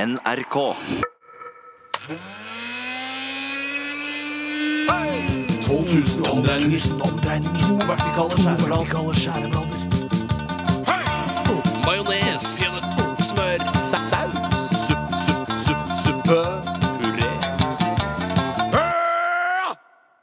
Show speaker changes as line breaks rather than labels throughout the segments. NRK.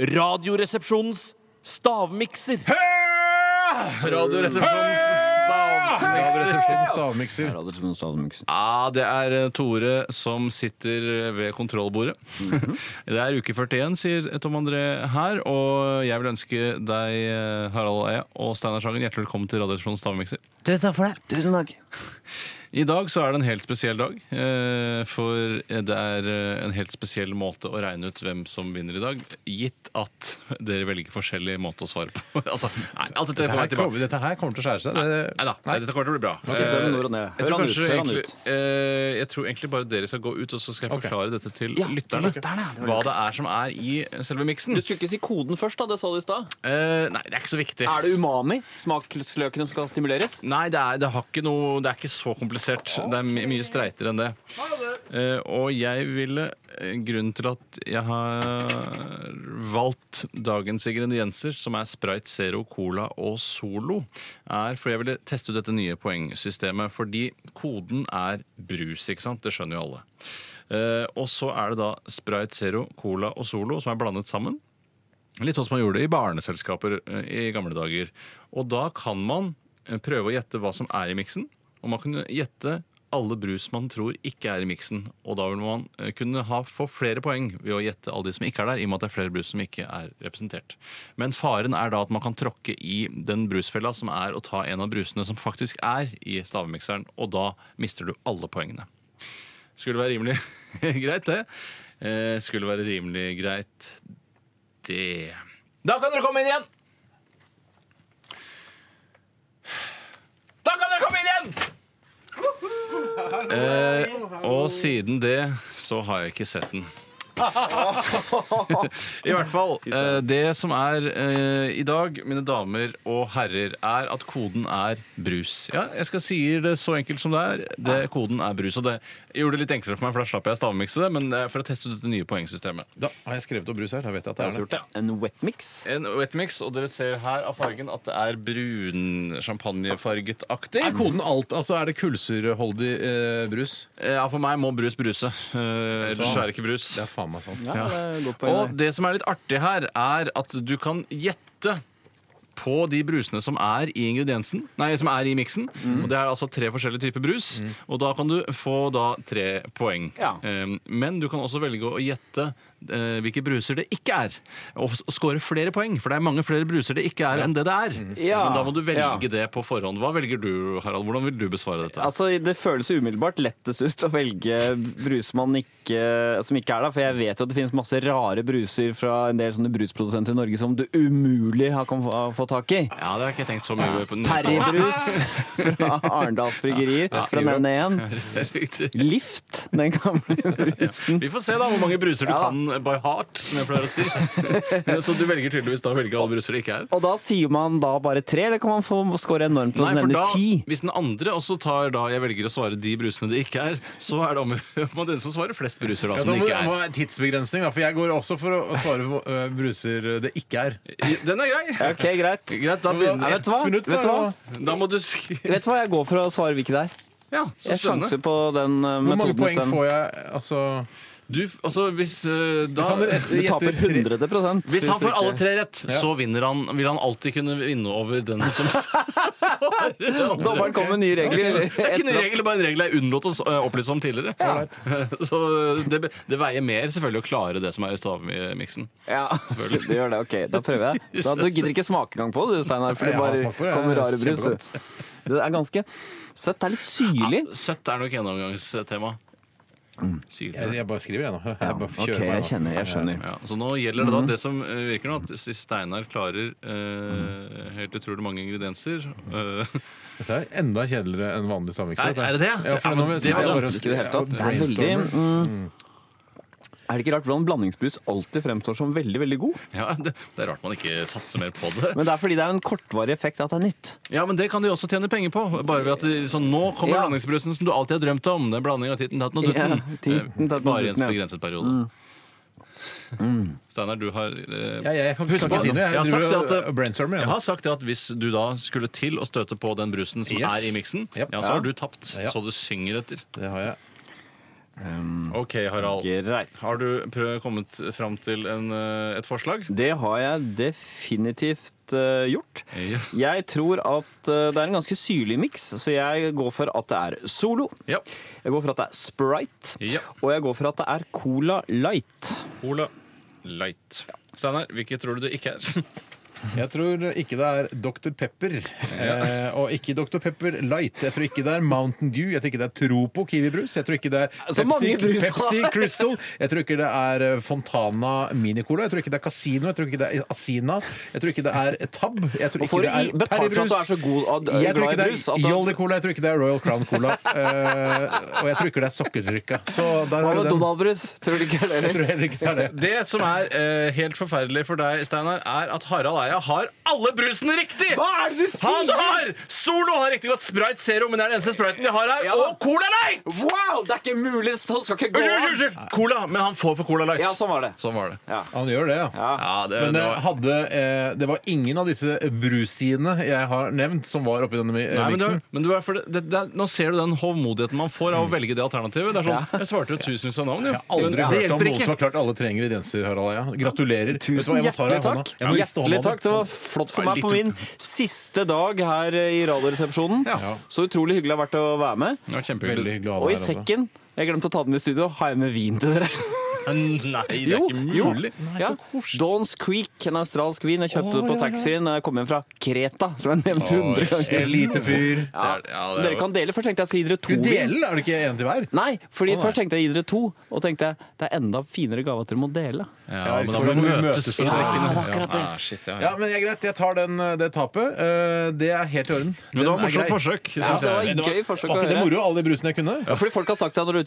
Radioresepsjonens stavmikser.
Radioresepsjonens stavmikser.
Ja, det er eh, Tore som sitter ved kontrollbordet. Det er uke 41, sier Tom André her. Og jeg vil ønske deg, eh, Harald Eie og Steinar Sagen, hjertelig velkommen til Radioresepsjonens stavmikser.
Tusen takk.
I dag så er det en helt spesiell dag, eh, for det er eh, en helt spesiell måte å regne ut hvem som vinner i dag, gitt at dere velger forskjellig måte å svare på. altså, nei, alt dette er på
Dette
vei
her,
tilbake.
kommer, dette her kommer til å skjære seg. Det-
Nei da, dette kommer til å bli bra.
døm nord og ned.
Eh, jeg tror
Hør han ut,
kanskje
hør han
egentlig-
ut.
eh, Jeg tror egentlig bare dere skal gå ut, og så skal jeg
Ok.
forklare dette til
Ja, til
lytterne.
lytterne, det var
Hva
lurt.
det er som er i selve miksen.
Du skulle ikke si koden først, da. Det sa du i stad.
Eh, nei, det er ikke så viktig.
Er det umami? Smaksløkene skal stimuleres?
Nei, det er, det, har ikke noe, det er ikke så komplisert. Det er my mye streitere enn det. Eh, og jeg ville eh, Grunnen til at jeg har valgt dagens ingredienser, som er Sprite, Zero, Cola og Solo, er fordi jeg ville teste ut dette nye poengsystemet. Fordi koden er brus, ikke sant? Det skjønner jo alle. Eh, og så er det da Sprite, Zero, Cola og Solo som er blandet sammen. Litt sånn som man gjorde det i barneselskaper eh, i gamle dager. Og da kan man eh, prøve å gjette hva som er i miksen. Og man kunne gjette alle brus man tror ikke er i miksen. Og da vil man eh, kunne ha, få flere poeng ved å gjette alle de som ikke er der, i og med at det er flere brus som ikke er representert. Men faren er da at man kan tråkke i den brusfella som er å ta en av brusene som faktisk er i stavmikseren, og da mister du alle poengene. Skulle være rimelig greit, det. Eh, Skulle være rimelig greit, det Da kan dere komme inn igjen! Da kan dere komme inn igjen! Eh, og siden det så har jeg ikke sett den. I hvert fall. Eh, det som er eh, i dag, mine damer og herrer, er at koden er brus. Ja, jeg skal si det så enkelt som det er. Det, koden er brus. Og det gjorde det litt enklere for meg, for da slapp jeg å stavmikse det. Men det er for å teste ut det nye poengsystemet.
Da har jeg skrevet opp brus her. Da vet jeg at det er det.
eh,
En wet mix?
En wetmix, og dere ser her av fargen at det er brun champagnefarget-aktig.
Er koden alt? Altså, er det kullsyreholdig eh, brus?
Eh, Ja, for meg må brus bruse. Eh, ellers er det ikke brus.
Det er faen meg sant.
Ja.
Godt
Og
poeng.
det som er litt artig her, er at du kan gjette på de brusene som er i ingrediensen Nei, som er i miksen.
Mm.
Og Det er altså tre forskjellige typer brus. Og da kan du få da tre poeng.
Ja.
Eh, Men du kan også velge å gjette eh, hvilke bruser det ikke er. Og s- score flere poeng, for det er mange flere bruser det ikke er enn det det er.
Mm. Ja.
Men da må du velge
Ja.
det på forhånd. Hva velger du, Harald? Hvordan vil du besvare dette?
Altså, Det føles umiddelbart lettest ut å velge brus man ikke, som ikke er der. For jeg vet jo at det finnes masse rare bruser fra en del sånne brusprodusenter i Norge som du umulig har kan få- få tak i.
Ja, det har jeg ikke tenkt så mye på.
Perrybrus fra Arendals Bryggerier, for å nevne én.
Riktig.
Lift, den gamle brusen.
Vi får se da hvor mange bruser du
Ja.
kan by heart, som jeg pleier å si. Så du velger tydeligvis da å velge alle bruser det ikke er?
Og da sier man da bare tre, eller kan man få score enormt på å
Nei, for
nevne
da,
ti?
Hvis den andre også tar da jeg velger å svare de brusene det ikke er, så er det om om den som svarer flest bruser da som
Ja, da
Altså, det
må det
ikke
må
er.
være tidsbegrensning, da, for jeg går også for å å svare på eh, bruser det ikke er.
Den er grei.
Ok, greit.
Greit, da begynner
vet
jeg.
du hva?
Ett minutt,
Vet du hva?
da.
Da må du sk...
Vet du hva, jeg går for å svare hvilket det er.
Ja, så
Jeg
spennende.
sjanser på den eh,
Hvor mange
metoden.
poeng
den-
får jeg? Altså
Du, altså, hvis eh, da
Sander, et-
Du taper
gjetter tre.
100 prosent.
Hvis han får alle tre rett, så vinner han, vil han alltid kunne vinne over den som
Dommeren kom med nye regler.
Det er ikke en
Etter at-
regel, bare en regel jeg unnlot å s- eh, opplyse om tidligere. Så det, be- det veier mer selvfølgelig å klare det som er i stavmiksen.
Ja, det gjør det. Ok, da prøver jeg. Da, du gidder ikke smakegang på det, du, Steinar. For det
Jeg har
bare
smakt på det,
kommer
det er
rare brus.
kjempegodt.
Du. Det er ganske søtt. Det er litt syrlig.
Søtt er nok gjennomgangstema.
Jeg,
Mm.
Syrlig.
jeg bare skriver, jeg nå. Jeg bare
Ok,
kjører meg
jeg
nå.
kjenner, jeg skjønner.
Ja, så nå gjelder
Mm.
det da det som eh, virker nå, at Steinar klarer eh, helt utrolig mange ingredienser. Eh,
Dette er enda kjedeligere enn vanlig stavmikser.
Er-
dette.
er det det?
Ja, for
Ja,
nå
men det
sitter jeg
var
bare og
Ikke i det hele tatt. Det er veldig
brainstormer.
mm, Er det ikke rart hvordan blandingsbrus alltid fremstår som veldig veldig god?
Ja, det, det er rart man ikke satser mer på det.
Men det er fordi det er en kortvarig effekt at det er nytt.
Ja, men det kan de også tjene penger på. Bare ved at de, sånn, Nå kommer
Ja.
blandingsbrusen som du alltid har drømt om. Det er blanding av titten, tatten og dutten.
Ja, titten,
Eh,
tatten og
Bare i en
dutten, ja. Mm.
begrenset periode. Steinar, du har eh,
Ja, jeg kan,
Husk
kan
på-
ikke si noe.
jeg har
driver
sagt det
og-
at-
og brainstormer, jeg.
Jeg har sagt det at hvis du da skulle til å støte på den brusen som
Yes.
er i miksen, ja,
Yep.
så har du tapt.
Ja.
Så du synger etter.
Det har jeg.
OK, Harald.
Greit.
Har du prøv- kommet fram til en, eh, et forslag?
Det har jeg definitivt eh, gjort.
Ja.
Jeg tror at eh, det er en ganske syrlig miks, så jeg går for at det er Solo.
Ja.
Jeg går for at det er Sprite.
Ja.
Og jeg går for at det er Cola Light.
Cola Light. Steinar, hvilket tror du det ikke er?
Jeg tror ikke det er Dr. Pepper. Eh, og ikke Dr. Pepper Light. Jeg tror ikke det er Mountain Dew. Jeg tror ikke det er Tropo kiwibrus. Jeg tror ikke det er
Så mange
Pepsi,
brus.
Pepsi Crystal. Jeg tror ikke det er eh, Fontana Minicola. Jeg tror ikke det er Casino. Jeg tror ikke det er Asina. Jeg tror ikke det er Tab. Jeg tror
Og
ikke
får
det er
du betalt for at du er så god og
Jeg tror
glad
ikke
i
det
brus? at
er
du-
Jolly Cola, jeg tror ikke det er Royal Crown Cola. Eh, og jeg tror ikke det er sokkerdrikka. Så der
Hva
har du
med
den.
Donald-brus? Tror du ikke det?
Jeg tror heller ikke det er det.
Det som er eh, helt forferdelig for deg, Steinar, er at Harald Eia har alle brusene riktig!
Hva er det du
Han
sier?!
har Solo! Han har riktignok Sprite Zero, men det er den eneste spriten de har her.
Ja.
Og Cola Light!
Wow, det er ikke mulig! Sånn skal ikke gå!
Unnskyld, unnskyld, unnskyld! Cola, men han får for Cola Light.
Ja, sånn var det.
Sånn var det.
Han gjør det, ja.
Ja, det,
Men
det
eh,
var...
hadde, eh, det var ingen av disse brusidene jeg har nevnt, som var oppi denne mi- eh,
Nei, men du,
miksen.
men du er for det, det, det, er- nå ser du den hovmodigheten man får av å velge det alternativet. Det er sånn, Jeg svarte jo tusenvis av navn, jo.
Jeg har aldri
Men det
hørt om
hjelper
noen
ikke.
som har klart alle tre ingredienser, Harald Eia. Gratulerer. Vet du hva,
Tusen
jeg må ta deg
hjertelig
i hånda.
takk.
Jeg må riste hånda
Hjertelig
di.
takk. Det var flott for
Ja,
meg på
litt
min siste dag her eh, i Radioresepsjonen.
Ja.
Så utrolig hyggelig det har vært å være med.
Det var
Veldig
kjempehyggelig.
hyggelig å ha
Og i
deg her. altså.
sekken jeg glemte å ta den med i studio. Har jeg med vin til dere?
Nei, det er
Jo,
ikke
jo.
mulig.
Ja. Dawns Creek, en australsk vin. Jeg kjøpte det på taxfree-en da jeg kom hjem fra Kreta. Som jeg nevnte hundre ganger.
Elite fyr.
Ja.
Det er- ja, det
Som
er-
dere kan dele. Først tenkte jeg skal gi dere
Du
to vin.
deler, er det ikke en til hver?
Nei, fordi først tenkte jeg å gi dere to. Og tenkte jeg det er enda finere gave at dere må dele.
Ja, men da må
for da
vi
må vi
møtes
møtes
på
på
strekkene.
Ja, det er akkurat det.
Ah, shit, ja, ja.
Ja, men jeg, greit, jeg tar den, eh, det tapet. Eh, Det er helt i orden.
Men det var
Den er grei.
morsomt forsøk.
Ja,
synes
det var
jeg.
et gøy forsøk å
Var ikke det
høre.
moro, alle de brusene jeg kunne?
Ja, fordi Folk har sagt til deg når du er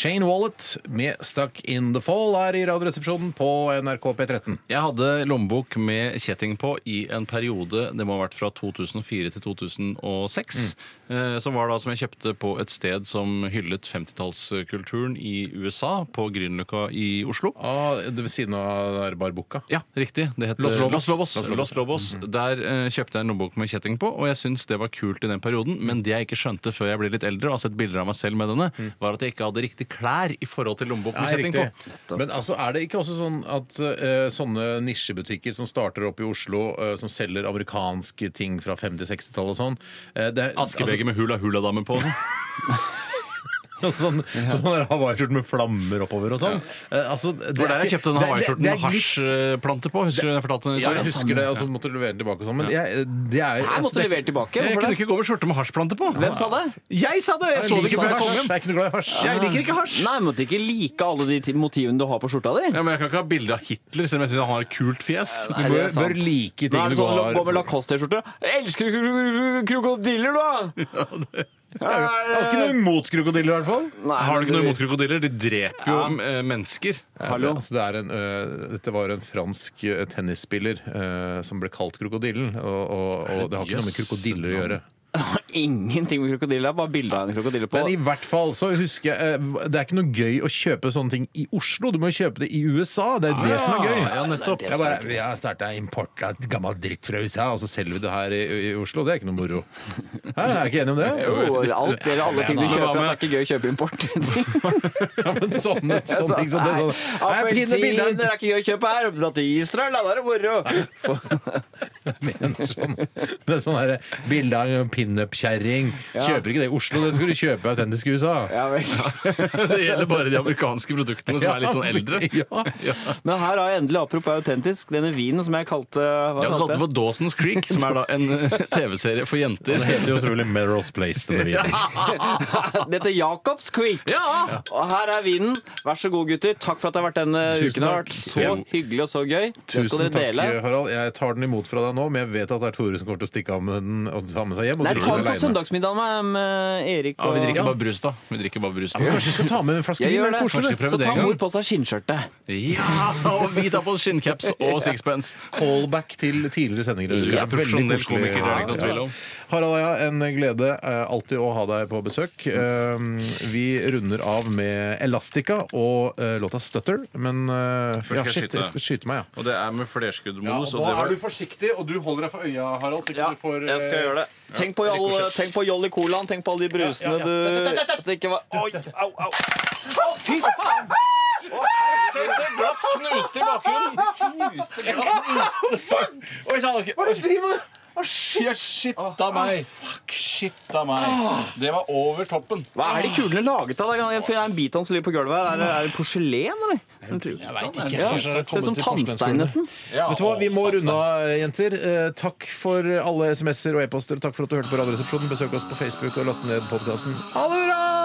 Chain Wallet med Stuck in the Fall her i Radioresepsjonen på NRK P13.
Jeg hadde lommebok med kjetting på i en periode, det må ha vært fra 2004 til 2006. Eh, som var da som jeg kjøpte på et sted som hyllet 50-tallskulturen i USA, på Grünerløkka i Oslo.
Ah, det ved siden av der barbukka.
Ja, riktig. Det heter
Los Lobos.
Los Lobos.
Los Lobos.
Los Lobos. Der eh, kjøpte jeg en lommebok med kjetting på, og jeg syntes det var kult i den perioden. Men det jeg ikke skjønte før jeg ble litt eldre, og har sett bilder av meg selv med denne, var at jeg ikke hadde riktig klær i forhold til lommebok med
Nei,
kjetting på.
riktig. Men altså, er det ikke også sånn at eh, sånne nisjebutikker som starter opp i Oslo, eh, som selger amerikanske ting fra 50-60-tallet og sånn eh, det er-
Askebeger med hula-hula-dame på.
altså, Sånn, sånn der hawaiiskjorte med flammer oppover og sånn. Eh, altså, det
Det var der jeg kjøpte den hawaiiskjorten
det
med
er litt-
hasjplante på. Husker du jeg fortalte den
Ja, jeg
historien?
husker det, og så måtte du levere den tilbake og sånn. Men jeg, det er
Her måtte du levere tilbake.
Jeg
Hvorfor
kunne
det?
ikke gå med skjorte med hasjplante på.
Hvem sa det?
Jeg sa det! Jeg så det ikke før jeg kom hjem.
Jeg er ikke noe glad i hasj.
Jeg liker ikke hasj.
Nei, måtte ikke like alle de ti- motivene du har på skjorta di.
Ja, men Jeg kan ikke ha bilde av Hitler, selv om jeg syns han har et kult fjes.
Du
det
bør,
er sant.
bør
Nei,
like ting
men
du
sånn,
går
Gå med Lacoste-skjorte. Elsker du kro- krokodiller, du, da?
Jeg har ikke noe imot krokodiller, i hvert fall.
Har du ikke noe imot krokodiller? De dreper jo eh, mennesker.
Hallo?
Altså, det er en, øh, dette var en fransk øh, tennisspiller øh, som ble kalt krokodillen. Og, og, og det har ikke noe med krokodiller å gjøre.
Ingenting med krokodiller. det er Bare bilde av en krokodille på.
Men i hvert fall så husker jeg øh, Det er ikke noe gøy å kjøpe sånne ting i Oslo. Du må jo kjøpe det i USA. Det er det som er gøy.
Ah, Ja, nettopp.
Jeg bare, vi har starta import av gammel dritt fra USA, og så selger vi det her i, i Oslo. Det er ikke noe moro. Hæ, er jeg ikke enig om det?
Jo, alt gjelder alle ting du
Men hva
kjøper. Det er
med-
ikke gøy å kjøpe import.
Ja, men sånne, sånne ting som det.
Nei,
Sånn. Nei, pinne bilder.
Appelsiner er ikke gøy å kjøpe her. Dra til Israel, da er det moro.
Jeg mener sånn. Det er sånn her, bilde av en pinup-kjerring. Kjøper ikke det i Oslo, det skal du kjøpe i autentisk i USA.
Ja, vel.
Det gjelder bare de amerikanske produktene som er litt sånn eldre.
Ja.
Men her har jeg endelig, apropos autentisk, denne vinen som jeg kalte hva
Jeg har kalt
kalte
det for Dawson's Creek, som er da en eh, TV-serie for jenter.
Det heter jo selvfølgelig Melrose Place. Denne videoen.
Det heter Jacobs Creek. Og her er vinen. Vær så god, gutter. Takk for at det har vært denne uken.
Tusen
Det har vært så
takk.
hyggelig og så gøy. Det skal
Tusen
dere
takk,
dele.
Harald. Jeg tar den imot fra deg nå, men jeg vet at det er Tore som kommer til å stikke av med den og ta med seg hjem. Og
Nei,
drikke
ta den på
alene.
søndagsmiddagen med, med Erik
Ja,
og
vi drikker bare brus, da. Vi drikker bare brus. da.
Kanskje vi skal ta med en flaske
Jeg
vin?
gjør
er
det.
koselig?
Kanskje vi prøver
Så
det
tar
en gang.
mor på seg skinnskjørtet.
Ja, og vi tar på oss skinncaps og sixpence.
Callback til tidligere sendinger. Det
Ja,
er veldig
profesjonell
koselig.
komiker, det er det ikke noe
Ja.
tvil om.
Harald og jeg, en glede eh, alltid å ha deg på besøk. Eh, Vi runder av med Elastica og eh, låta Stutter. Men eh,
Først skal
ja,
jeg
shit,
skyte.
jeg skal skyte meg, ja.
Og det er med flerskuddmodus. og
nå
det var-
er du forsiktig, og du holder deg for øya, Harald. Så ikke du får
jeg skal gjøre det. Tenk på, all, tenk på Jolly Colaen, tenk på alle de brusene
eh, Ja, ja,
du Så det ikke var Oi, au, au. Å, Fy faen!
Glass knuste i bakgrunnen! Det var over toppen.
Hva er de kulene laget av? da? Jeg får en bit av hans liv på gulvet her. Er det, er det porselen, eller? Jeg veit ikke. Ja,
Kanskje det
ser
har
ut som
kommet til
tannstein nesten.
Vet du hva, Vi må runde av, jenter. Eh, Takk for alle SMS-er og e-poster. og Takk for at du hørte på Radioresepsjonen. Besøk oss på Facebook og last ned podkasten. Ha det bra!